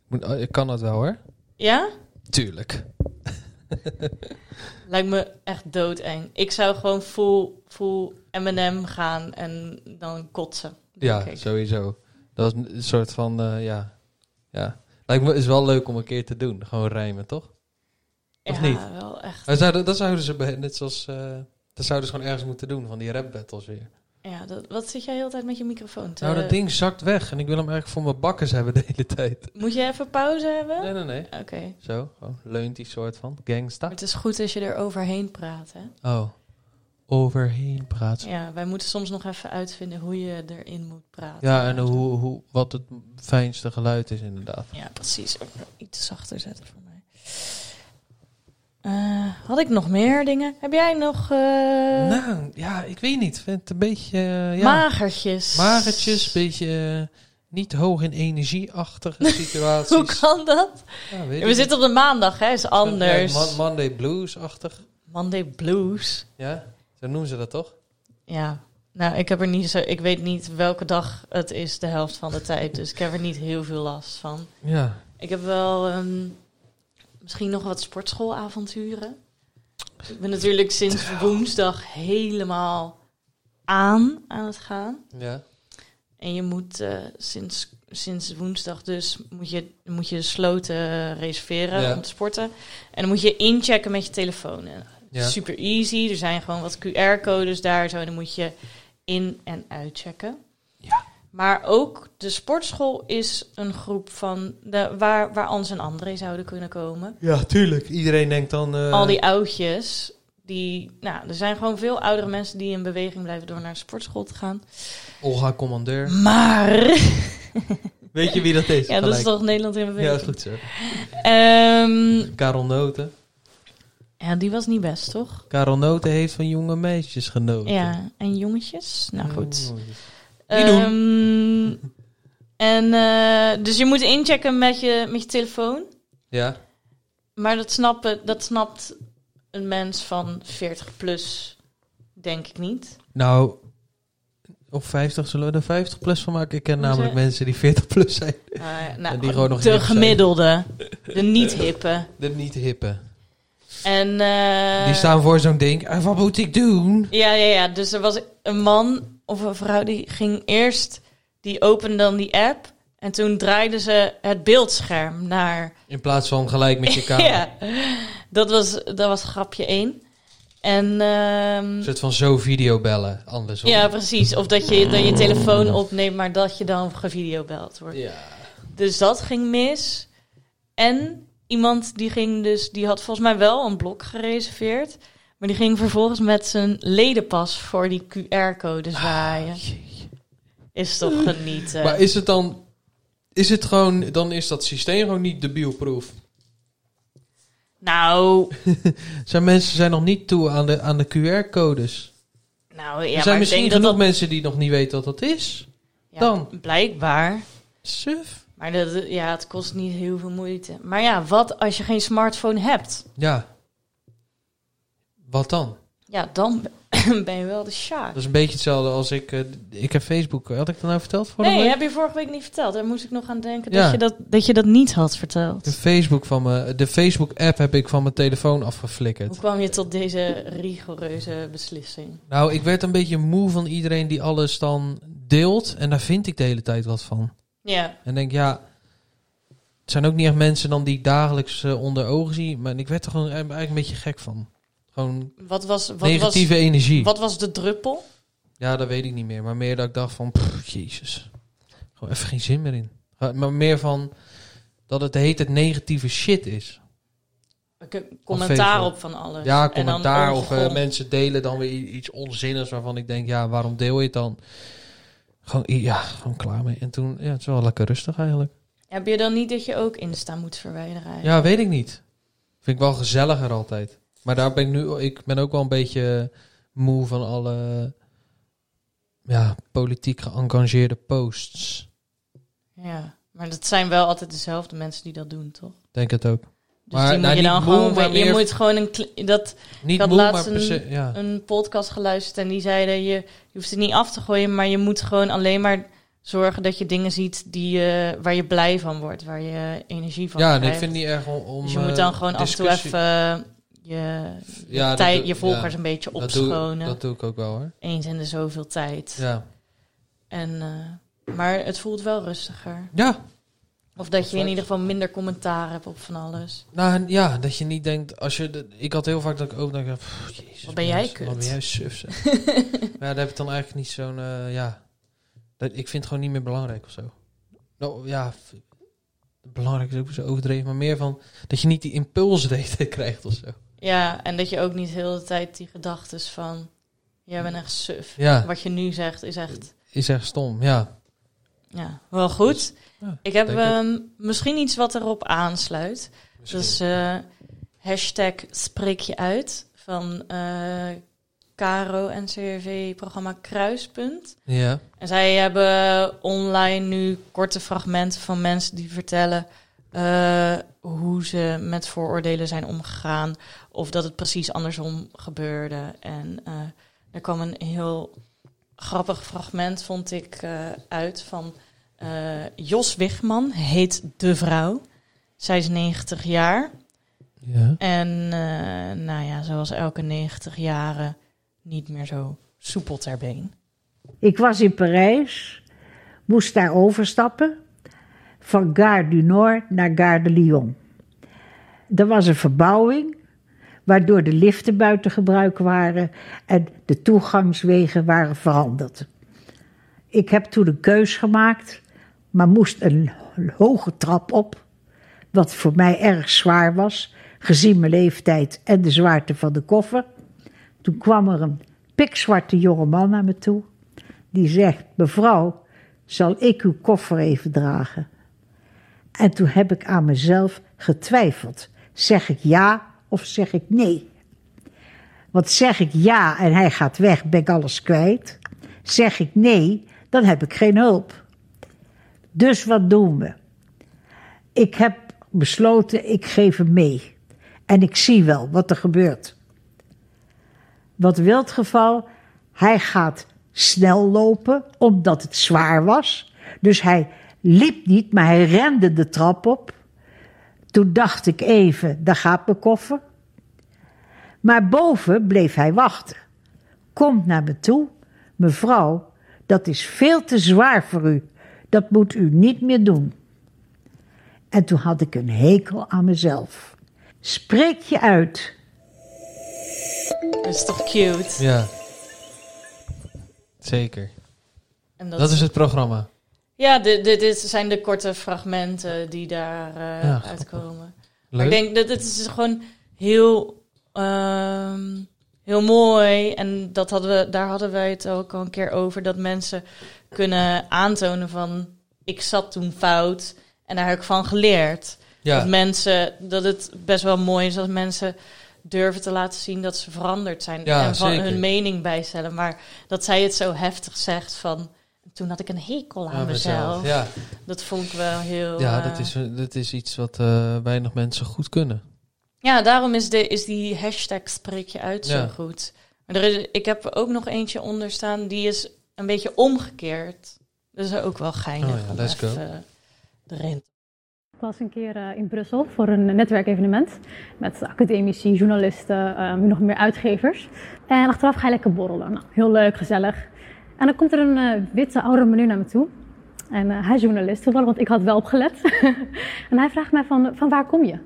A: moet- oh, Ik kan dat wel hoor.
B: Ja?
A: Tuurlijk.
B: Lijkt me echt doodeng. Ik zou gewoon full, full M&M gaan en dan kotsen.
A: Ja,
B: denk ik.
A: sowieso. Dat is een soort van, eh, ja. ja. Lijkt me is wel leuk om een keer te doen. Gewoon rijmen, toch? of
B: ja,
A: niet?
B: wel echt.
A: Maar zouden, dat zouden ze, bij- net zoals, eh, dat zouden ze gewoon ergens moeten doen, van die rap battles weer.
B: Ja, dat, wat zit jij heel de tijd met je microfoon te...
A: Nou, dat ding zakt weg en ik wil hem eigenlijk voor mijn bakkers hebben de hele tijd.
B: Moet je even pauze hebben?
A: Nee, nee, nee.
B: Oké.
A: Zo, gewoon leunt die soort van
B: Maar
A: gangsta.
B: het is goed als je er overheen praat, hè?
A: Oh, overheen praat.
B: Ja, wij moeten soms nog even uitvinden hoe je erin moet praten.
A: Ja, en hoe, hoe, wat het fijnste geluid is inderdaad.
B: Ja, precies. Ook nog iets zachter zetten voor mij. Eh, had ik nog meer dingen? Heb jij nog eh,
A: Nou, ja, ik weet niet. Ik vind het een beetje... eh, ja.
B: magertjes?
A: magertjes, een beetje eh, niet hoog in energieachtige situaties.
B: Hoe kan dat?
A: Ja, weet ik
B: We
A: niet.
B: zitten op de maandag, hè? Is anders.
A: Ja, Mon- Monday blues-achtig.
B: Monday blues.
A: Ja, zo noemen ze dat toch?
B: Ja. Nou, ik heb er niet zo. Ik weet niet welke dag het is de helft van de tijd. Dus ik heb er niet heel veel last van.
A: Ja.
B: Ik heb wel ehm, misschien nog wat sportschoolavonturen. Ik ben natuurlijk sinds woensdag helemaal aan aan het gaan.
A: Ja.
B: En je moet eh, sinds, sinds woensdag dus moet je, moet je sloten eh, reserveren
A: Ja.
B: om te sporten. En dan moet je inchecken met je telefoon. En
A: Ja.
B: Super easy. Er zijn gewoon wat QR-codes daar. Zo, en dan moet je in- en uitchecken. Maar ook de sportschool is een groep van de, waar, waar Ans en André zouden kunnen komen.
A: ja, tuurlijk. Iedereen denkt dan... eh,
B: Al die oudjes. Die, nou, er zijn gewoon veel oudere mensen die in beweging blijven door naar de sportschool te gaan.
A: Olga Commandeur.
B: Maar.
A: Weet je wie dat is?
B: Ja, dat is
A: Gelijk.
B: toch Nederland in
A: Ja,
B: beweging?
A: goed zo.
B: Ehm,
A: Karel Noten.
B: ja, die was niet best, toch?
A: Karel Noten heeft van jonge meisjes genoten.
B: Ja, en jongetjes. Nou
A: Eh,
B: goed.
A: Jongens.
B: Ehm En eh, dus je moet inchecken met je, met je telefoon.
A: Ja,
B: Maar dat, snappen, dat snapt een mens van 40 plus, denk ik niet.
A: nou... Of 50, zullen we er 50 plus van maken? Ik ken
B: Hoe is
A: namelijk
B: het?
A: mensen die 40 plus zijn.
B: Maar,
A: En
B: nou,
A: die gewoon nog
B: de
A: hip zijn.
B: gemiddelde, de niet-hippe.
A: De niet-hippen.
B: En, eh,
A: die staan voor zo'n ding. En wat moet ik doen?
B: Ja, ja, ja. Dus er was een man of een vrouw die ging eerst, die opende dan die app. En toen draaiden ze het beeldscherm naar.
A: In plaats van gelijk met je kamer.
B: Ja, dat was, dat was grapje één. En, ehm,
A: Een soort van zo videobellen, andersom.
B: ja, precies. Of dat je dan je telefoon opneemt, maar dat je dan gevideobeld wordt.
A: Ja.
B: Dus dat ging mis. En iemand die ging dus, die had volgens mij wel een blok gereserveerd. Maar die ging vervolgens met zijn ledenpas voor die QR-code zwaaien. is toch genieten.
A: Ah, Maar is het dan... Is het gewoon... Dan is dat systeem gewoon niet debielproof.
B: nou,
A: Zijn mensen zijn nog niet toe aan de, aan de QR-codes.
B: nou ja,
A: er
B: maar
A: zijn
B: ik
A: misschien
B: denk
A: genoeg
B: dat dat...
A: mensen die nog niet weten wat dat is.
B: Ja,
A: dan.
B: Blijkbaar.
A: Suf.
B: Maar dat, ja, het kost niet heel veel moeite. Maar ja, wat als je geen smartphone hebt?
A: Ja. Wat dan?
B: Ja, dan ben je wel de sjaak.
A: Dat is een beetje hetzelfde als ik... eh, ik heb Facebook... Had ik dat nou verteld vorige
B: Nee,
A: week?
B: heb je vorige week niet verteld. Daar moest ik nog aan denken
A: Ja.
B: dat, je dat, dat je dat niet had verteld.
A: De Facebook van me, de Facebook app heb ik van mijn telefoon afgeflikkerd.
B: Hoe kwam je tot deze rigoureuze beslissing?
A: Nou, ik werd een beetje moe van iedereen die alles dan deelt. En daar vind ik de hele tijd wat van.
B: Ja,
A: En denk, ja, het zijn ook niet echt mensen dan die ik dagelijks eh, onder ogen zie. Maar ik werd er gewoon eh, eigenlijk een beetje gek van. Gewoon
B: wat was, wat
A: negatieve E. energie.
B: was, wat was de druppel?
A: Ja, dat weet ik niet meer. Maar meer dat ik dacht van, pff, jezus. Gewoon even geen zin meer in. Gewoon- Maar meer van dat het heet het negatieve shit is.
B: Ik heb commentaar
A: Facebook.
B: op van alles.
A: Ja,
B: En dan
A: commentaar of eh,
B: ongegrond.
A: mensen delen dan weer i- iets onzinnigs waarvan ik denk, ja, waarom deel je het dan? Gewoon, i- ja, gewoon klaar mee. En toen, ja, het is wel lekker rustig eigenlijk.
B: Heb je dan niet dat je ook Insta moet verwijderen?
A: Ja, weet ik niet. Vind ik wel gezelliger altijd. Maar daar ben ik nu, ik ben ook wel een beetje moe van alle, ja, politiek geëngageerde posts.
B: Ja, maar dat zijn wel altijd dezelfde mensen die dat doen, toch?
A: Denk het ook.
B: Dus
A: Maar,
B: die moet
A: nou,
B: je
A: niet
B: dan
A: moe,
B: gewoon...
A: maar
B: weer- je
A: meer-
B: moet gewoon een... kle- Dat,
A: Niet
B: Ik had
A: moe, maar
B: laatst een-
A: per se- ja.
B: een podcast geluisterd en die zeiden... Je, je hoeft het niet af te gooien, maar je moet gewoon alleen maar zorgen dat je dingen ziet die, je- waar je blij van wordt. Waar je energie van
A: Ja, en
B: krijgt.
A: ik vind het niet erg om... om
B: Dus je moet
A: eh,
B: dan gewoon af en toe
A: discussie-
B: even eh, je, je,
A: Ja, dat
B: tijd-
A: doe-
B: je volgers
A: ja,
B: een beetje
A: dat doe-
B: opschonen.
A: Dat doe ik ook wel, hoor.
B: Eens in de zoveel tijd.
A: Ja.
B: En, eh, maar het voelt wel rustiger.
A: Ja,
B: Of dat je in ieder geval minder commentaar hebt op van alles.
A: nou, en ja, dat je niet denkt... Als je de- ik had heel vaak dat ik ook dacht... pff, jezus,
B: Wat ben jij
A: mensen, Wat
B: kut.
A: ben jij suf, zeg. maar ja, daar heb ik dan eigenlijk niet zo'n... eh, ja, dat, ik vind het gewoon niet meer belangrijk of zo. Nou, ja... f- Belangrijk is ook zo overdreven, maar meer van... Dat je niet die impulsreden krijgt of zo.
B: Ja, en dat je ook niet heel de hele tijd die gedachten van... Jij bent echt suf.
A: Ja.
B: Wat je nu zegt is echt
A: Is echt stom, ja.
B: ja, wel goed.
A: Dus, ja,
B: ik heb
A: denk het.
B: ehm, misschien iets wat erop aansluit. Dat is eh, hashtag spreek je uit van eh Caro en CRV programma Kruispunt.
A: Ja,
B: En zij hebben online nu korte fragmenten van mensen die vertellen eh, hoe ze met vooroordelen zijn omgegaan. Of dat het precies andersom gebeurde. En eh, er kwam een heel grappig fragment, vond ik, eh, uit van eh, Jos Wigman, heet De Vrouw. Zij is 90 jaar.
A: ja.
B: En eh, nou ja, zoals elke 90 jaren niet meer zo soepel ter been.
I: Ik was in Parijs, moest daar overstappen van Gare du Nord naar Gare de Lyon. Er was een verbouwing, waardoor de liften buiten gebruik waren en de toegangswegen waren veranderd. Ik heb toen een keus gemaakt, maar moest een hoge trap op, wat voor mij erg zwaar was, gezien mijn leeftijd en de zwaarte van de koffer. Toen kwam er een pikzwarte jongeman naar me toe die zegt: Mevrouw, zal ik uw koffer even dragen? En toen heb ik aan mezelf getwijfeld: zeg ik ja of zeg ik nee? Want zeg ik ja en hij gaat weg, ben ik alles kwijt. Zeg ik nee, dan heb ik geen hulp. Dus wat doen we? Ik heb besloten, ik geef hem mee. En ik zie wel wat er gebeurt. Wat wild geval, hij gaat snel lopen omdat het zwaar was. Dus hij liep niet, maar hij rende de trap op. Toen dacht ik even, daar gaat mijn koffer. Maar boven bleef hij wachten. Komt naar me toe, mevrouw, dat is veel te zwaar voor u. Dat moet u niet meer doen. En toen had ik een hekel aan mezelf. Spreek je uit.
B: Dat is toch cute?
A: Ja. Zeker.
B: En dat,
A: Dat is het programma.
B: Ja, dit, dit, dit zijn de korte fragmenten die daar eh,
A: Ja, grappig.
B: uitkomen.
A: Leuk.
B: Maar ik denk dat het is gewoon heel, ehm, heel mooi. En dat hadden we, daar hadden wij het ook al een keer over. Dat mensen kunnen aantonen van... ik zat toen fout en daar heb ik van geleerd. Dat,
A: ja.
B: mensen, dat het best wel mooi is als mensen durven te laten zien dat ze veranderd zijn.
A: Ja,
B: en van
A: zeker.
B: hun mening bijstellen. Maar dat zij het zo heftig zegt van... Toen had ik een hekel aan
A: Aan
B: mezelf.
A: Ja,
B: Dat vond ik wel heel...
A: ja
B: eh,
A: dat, is, dat is iets wat eh, weinig mensen goed kunnen.
B: ja daarom is, de, is die hashtag spreek je uit
A: Ja.
B: zo goed. Maar er is, ik heb er ook nog eentje onder staan. Die is een beetje omgekeerd. Dat is ook wel geinig.
A: Oh ja,
B: om
A: let's go.
B: even eh, erin.
J: Ik was een keer eh, in Brussel voor een netwerkevenement met academici, journalisten, eh, nog meer uitgevers. En achteraf ga je lekker borrelen. Nou, heel leuk, gezellig. En dan komt er een eh, witte oude meneer naar me toe. En eh, hij is journalist, toevallig, want ik had wel opgelet. en hij vraagt mij van, van waar kom je?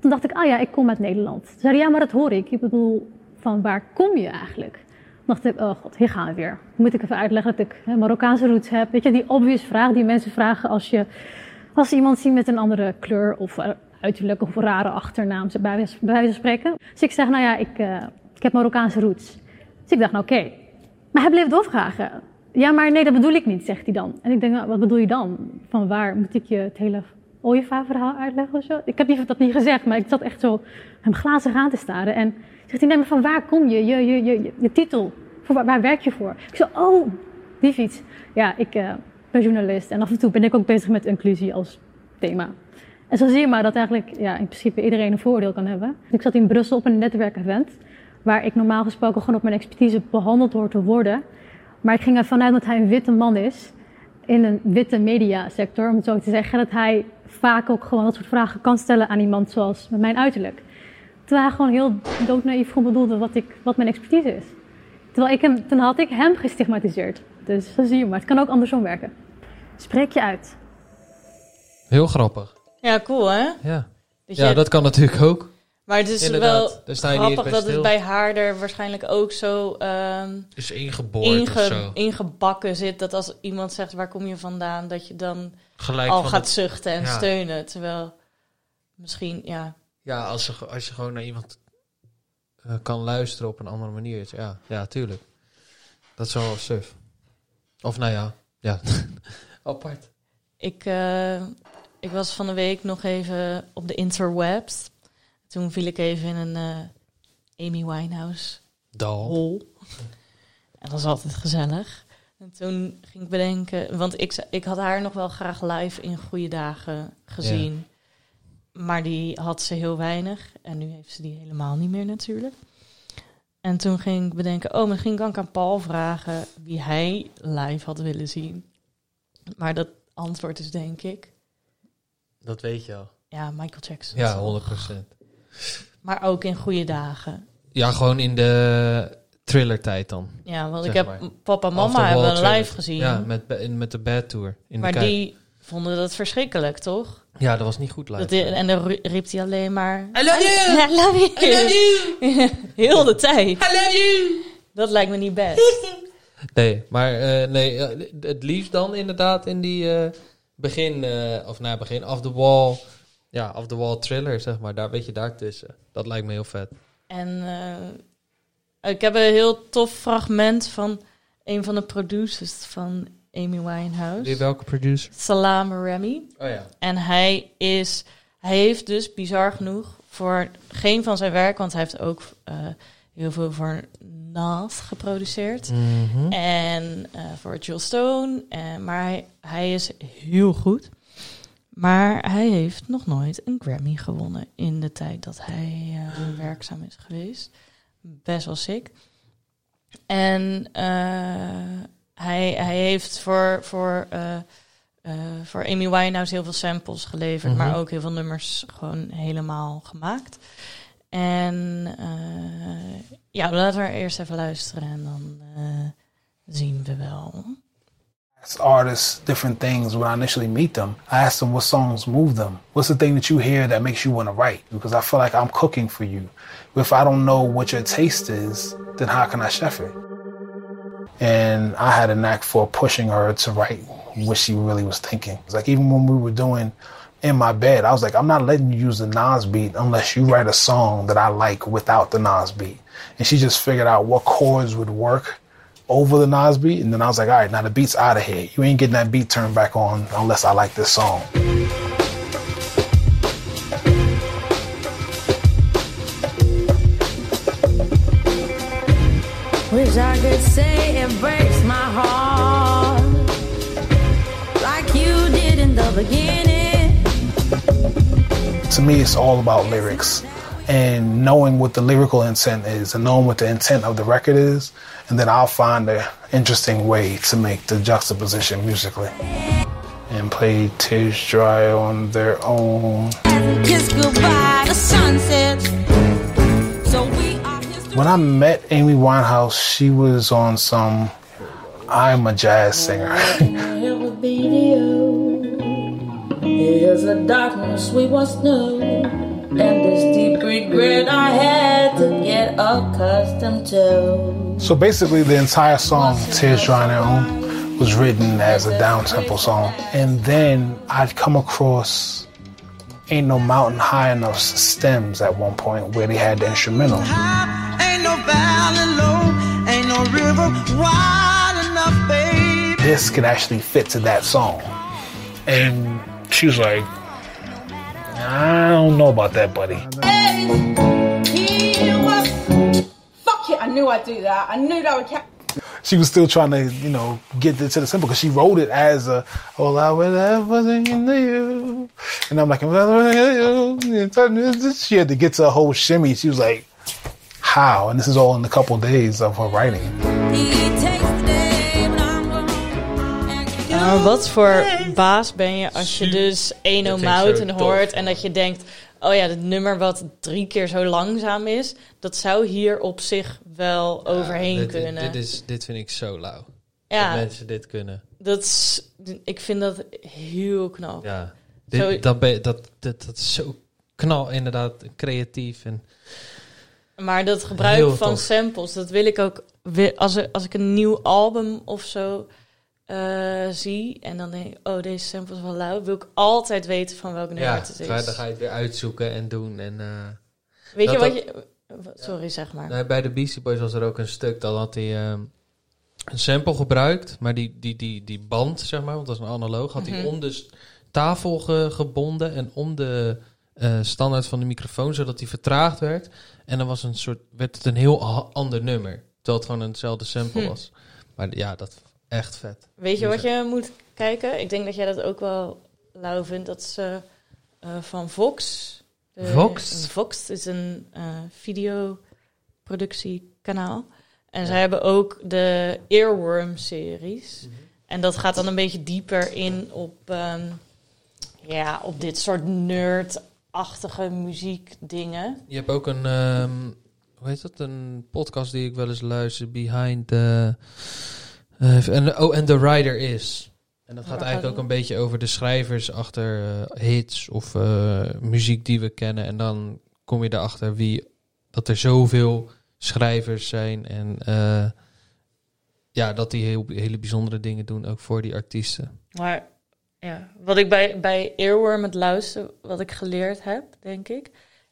J: Toen dacht ik, ah ja, ik kom uit Nederland. Toen zei hij, ja, maar dat hoor ik. Ik bedoel, van waar kom je eigenlijk? dacht ik, oh god, hier gaan we weer. Moet ik even uitleggen dat ik hè, Marokkaanse roots heb? Weet je, die obvious vraag die mensen vragen als, je, als ze iemand zien met een andere kleur of eh, uiterlijk of rare achternaam, bij wijze, bij wijze van spreken. Dus ik zeg, nou ja, ik, eh, ik heb Marokkaanse roots. Dus ik dacht, nou oké. Maar hij bleef doorvragen. Ja, maar nee, dat bedoel ik niet, zegt hij dan. En ik denk, nou, wat bedoel je dan? Van waar moet ik je het hele ooievaar-verhaal uitleggen of zo? Ik heb niet, dat niet gezegd, maar ik zat echt zo hem glazig aan te staren. En zegt hij, nee, maar van waar kom je? Je, je, je, je, je titel? Voor waar, waar werk je voor? Ik zo, oh, die fiets. Ja, ik eh, ben journalist en af en toe ben ik ook bezig met inclusie als thema. En zo zie je maar dat eigenlijk ja, in principe iedereen een voordeel kan hebben. Ik zat in Brussel op een netwerkevent, waar ik normaal gesproken gewoon op mijn expertise behandeld hoor te worden. Maar ik ging ervan uit dat hij een witte man is in een witte mediasector, om het zo te zeggen, dat hij vaak ook gewoon dat soort vragen kan stellen aan iemand zoals met mijn uiterlijk. Terwijl hij gewoon heel doodnaïef gewoon bedoelde wat, ik, wat mijn expertise is. Terwijl ik hem, toen had ik hem gestigmatiseerd. Dus zo zie je maar. Het kan ook andersom werken. Spreek je uit.
A: Heel grappig.
B: Ja, cool hè?
A: Ja.
B: Dat
A: ja,
B: je-
A: dat kan natuurlijk ook.
B: Maar Dus het is
A: Inderdaad,
B: wel
A: daar sta je niet
B: grappig
A: bij
B: dat
A: stil.
B: het bij haar er waarschijnlijk ook zo ehm,
A: Is ingeboord
B: inge-
A: of zo.
B: ingebakken zit. Dat als iemand zegt waar kom je vandaan, dat je dan
A: Gelijk
B: al
A: van
B: gaat
A: het-
B: zuchten en
A: ja.
B: steunen. Terwijl misschien, ja.
A: Ja, als je, als je gewoon naar iemand eh, kan luisteren op een andere manier. Ja, ja tuurlijk. Dat is wel suf. Of nou ja, ja. Apart.
B: Ik, eh, ik was van de week nog even op de interwebs. Toen viel ik even in een eh, Amy Winehouse
A: Dal.
B: hol. En dat is altijd gezellig. En toen ging ik bedenken, want ik, ze- ik had haar nog wel graag live in goede dagen gezien. Maar die had ze heel weinig. En nu heeft ze die helemaal niet meer natuurlijk. En toen ging ik bedenken, oh, misschien kan ik aan Paul vragen wie hij live had willen zien. Maar dat antwoord is denk ik,
A: Dat weet je al.
B: ja, Michael Jackson.
A: Ja, 100%.
B: Maar ook in goede dagen.
A: Ja, gewoon in de thriller tijd dan.
B: Ja, want
A: Zeg
B: ik heb
A: maar.
B: papa en mama
A: After Wall
B: hebben
A: Thriller.
B: live gezien.
A: Ja, met, ba- in- met de Bad Tour. In
B: maar
A: de Kuip.
B: die vonden dat verschrikkelijk, toch?
A: Ja, dat was niet goed live.
B: Dat die- en dan ru- riep hij alleen maar... I
A: love you!
B: I love you! Heel de tijd. I love you! Dat lijkt me niet best.
A: Nee, maar eh, nee, eh, het liefst dan inderdaad in die eh, begin, eh, of na begin, off the wall. Ja, off the wall thriller, zeg maar. Daar weet je daartussen. Dat lijkt me heel vet.
B: En eh, ik heb een heel tof fragment van een van de producers van Amy Winehouse.
A: Wie welke producer?
B: Salam Remy.
A: Oh ja.
B: En hij is, hij heeft dus bizar genoeg voor geen van zijn werk, want hij heeft ook eh, heel veel voor Nas geproduceerd en eh, voor Jill Stone. En, maar hij, hij is heel goed. Maar hij heeft nog nooit een Grammy gewonnen in de tijd dat hij eh, werkzaam is geweest. Best wel sick. En eh, hij, hij heeft voor, voor, eh, eh, voor Amy Winehouse heel veel samples geleverd,
A: Mhm.
B: maar ook heel veel nummers gewoon helemaal gemaakt. En eh, ja, laten we er eerst even luisteren en dan eh, zien we wel.
K: asked artists different things when I initially meet them. I ask them what songs move them. What's the thing that you hear that makes you want to write? Because I feel like I'm cooking for you. If I don't know what your taste is, then how can I chef it? And I had a knack for pushing her to write what she really was thinking. It's like even when we were doing in my bed, I was like, I'm not letting you use the Nas beat unless you write a song that I like without the Nas beat. And she just figured out what chords would work over the Nas beat, and then I was like, all right, now the beat's out of here. You ain't getting that beat turned back on unless I like this song.
L: Wish I could say it breaks my heart like you did in the beginning.
K: To me, it's all about lyrics and knowing what the lyrical intent is and knowing what the intent of the record is, and then I'll find an interesting way to make the juxtaposition musically. And play Tears Dry on their own.
L: Kiss goodbye to sunset. So we are
K: When I met Amy Winehouse, she was on some I'm a jazz singer.
L: will be the There's a darkness we once knew, and this deep regret I had to get accustomed to.
K: So basically, the entire song "Tears Dry on Their Own" was written as a down-tempo song, and then I'd come across "Ain't No Mountain High Enough" stems at one point where they had the instrumental.
E: Ain't no valley low, ain't no river wide enough, babe.
K: This could actually fit to that song, and she was like, "I don't know about that, buddy."
M: Fuck it, I knew I'd do that. I knew that would catch.
K: she was still trying to, you know, get it to the simple because she wrote it as a "All I would ever wasn't into you," and I'm like, she had to get to a whole shimmy. She was like, "How?" And this is all in a couple days of her writing.
B: Ja,
N: Uh,
B: maar wat voor baas ben je als je dus Eno
A: Dat vind ik zo
B: Mountain
A: tof.
B: hoort en dat je denkt... Oh ja, dat nummer wat drie keer zo langzaam is, dat zou hier op zich wel overheen
A: dit,
B: kunnen.
A: Dit, is, dit vind ik zo lauw.
B: Ja.
A: Dat mensen dit kunnen.
B: Dat is, ik vind dat heel knap.
A: Ja. Dit,
B: Zo-
A: dat, ben, dat, dat, dat is zo knal, inderdaad, creatief. En,
B: maar dat gebruik
A: Heel
B: van
A: tof.
B: samples, dat wil ik ook. wi- Als, er, als ik een nieuw album of zo eh, zie en dan denk ik, oh deze sample is wel lauw, wil ik altijd weten van welk nummer
A: ja,
B: het is.
A: dan ga je het weer uitzoeken en doen. En, eh,
B: Weet
A: dat-
B: je wat
A: dat-
B: je. wa- Sorry, zeg maar.
A: Nee, bij de Beastie Boys was er ook een stuk. Dan had hij ehm, een sample gebruikt. Maar die, die, die, die band, zeg maar, want dat is een analoog. Had
O: Mhm.
A: hij om de s- tafel ge- gebonden en om de eh, standaard van de microfoon. Zodat hij vertraagd werd. En dan was een soort, werd het een heel a- ander nummer. Terwijl het gewoon eenzelfde sample
B: Hm.
A: was. Maar ja, dat echt vet.
B: Weet je
A: Hoe
B: wat je moet kijken? Ik denk dat jij dat ook wel lauw vindt. Dat ze eh, van Vox. de-
A: Vox?
B: Vox is een eh, videoproductiekanaal. En zij hebben ook de Earworm-series. En dat gaat dan een beetje dieper in op, ehm, ja, op dit soort nerd-achtige muziekdingen.
A: Je hebt ook een, ehm, hoe heet dat? Een podcast die ik wel eens luister, Behind the... eh, en- oh, en The Rider Is. En dat gaat
O: Waar
A: eigenlijk
O: gaat
A: ook een beetje over de schrijvers achter eh, hits of eh, muziek die we kennen. En dan kom je erachter wie, dat er zoveel schrijvers zijn. En eh, ja, dat die heel, hele bijzondere dingen doen, ook voor die artiesten.
B: Maar ja, wat ik bij, bij Earworm het luisteren, wat ik geleerd heb, denk ik,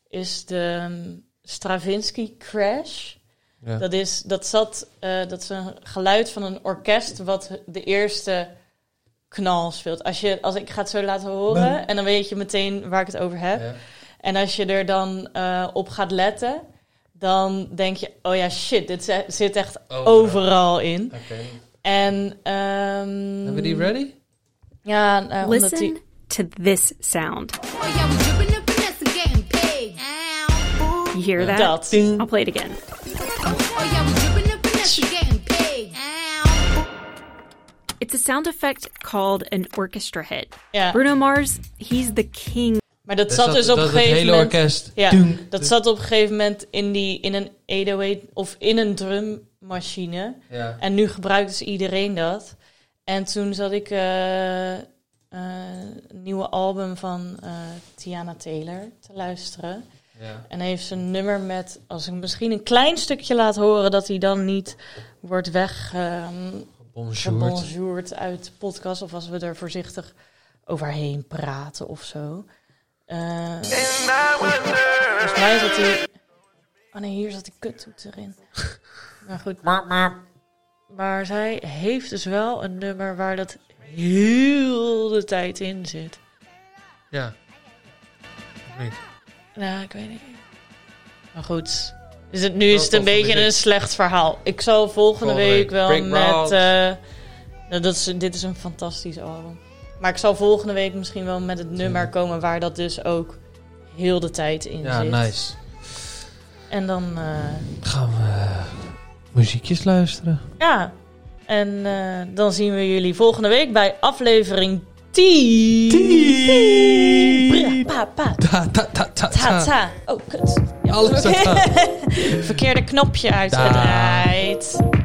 B: is de ehm, Stravinsky Crash.
A: Ja.
B: Dat, is, dat, zat, eh, dat is een geluid van een orkest wat de eerste knal speelt. Als, je, als ik ga het zo laten horen
A: Nee.
B: en dan weet je meteen waar ik het over heb.
A: Ja.
B: En als je er dan eh, op gaat letten, dan denk je, oh ja, shit, dit zi- zit echt
A: Overal.
B: overal, in.
A: Oké.
B: En ehm
A: Hebben we die ready?
B: Ja, eh, omdat
N: Listen Oh,
B: die...
N: to this sound. You hear that?
B: Dat.
N: I'll play it again. It's a sound effect called an orchestra hit.
B: Ja.
N: Bruno Mars, he's the king.
B: Maar dat zat dus op een gegeven
N: hele
B: moment...
N: orkest.
B: Ja,
N: Doem.
B: dat zat op een gegeven moment in, die, in een 808 of in een drummachine.
A: Ja.
B: En nu gebruikt dus iedereen dat. En toen zat ik eh, eh, een nieuwe album van eh, Tiana Taylor te luisteren.
A: Ja.
B: En heeft ze een nummer met, als ik misschien een klein stukje laat horen, dat hij dan niet wordt weg... ehm,
A: Bonjour.
B: gebonjourd uit de podcast. Of als we er voorzichtig overheen praten of zo. Eh, volgens mij zat hij... Oh nee, hier zat die kuttoet erin. maar goed. Maar zij heeft dus wel een nummer waar dat heel de tijd in zit.
A: Ja. Nee.
B: Nou, ik weet niet. Maar goed. Is het, nu is het een
A: Wel tof,
B: beetje
A: vind ik.
B: een slecht verhaal. Ik zal volgende,
A: Volgende week
B: week wel
A: Break
B: met...
A: Rocks.
B: eh, nou, dat is, dit is een fantastisch album. Maar ik zal volgende week misschien wel met het nummer komen... waar dat dus ook heel de tijd in
A: Ja,
B: zit.
A: nice.
B: En dan... eh,
A: Gaan we eh, muziekjes luisteren?
B: ja. En eh, dan zien we jullie volgende week bij aflevering 10. 10. Pa, pa.
A: Ta, ta, ta, ta,
B: Ta, ta. Oh, kut. Ja.
A: Alles ta, ta.
B: Verkeerde knopje uitgedraaid.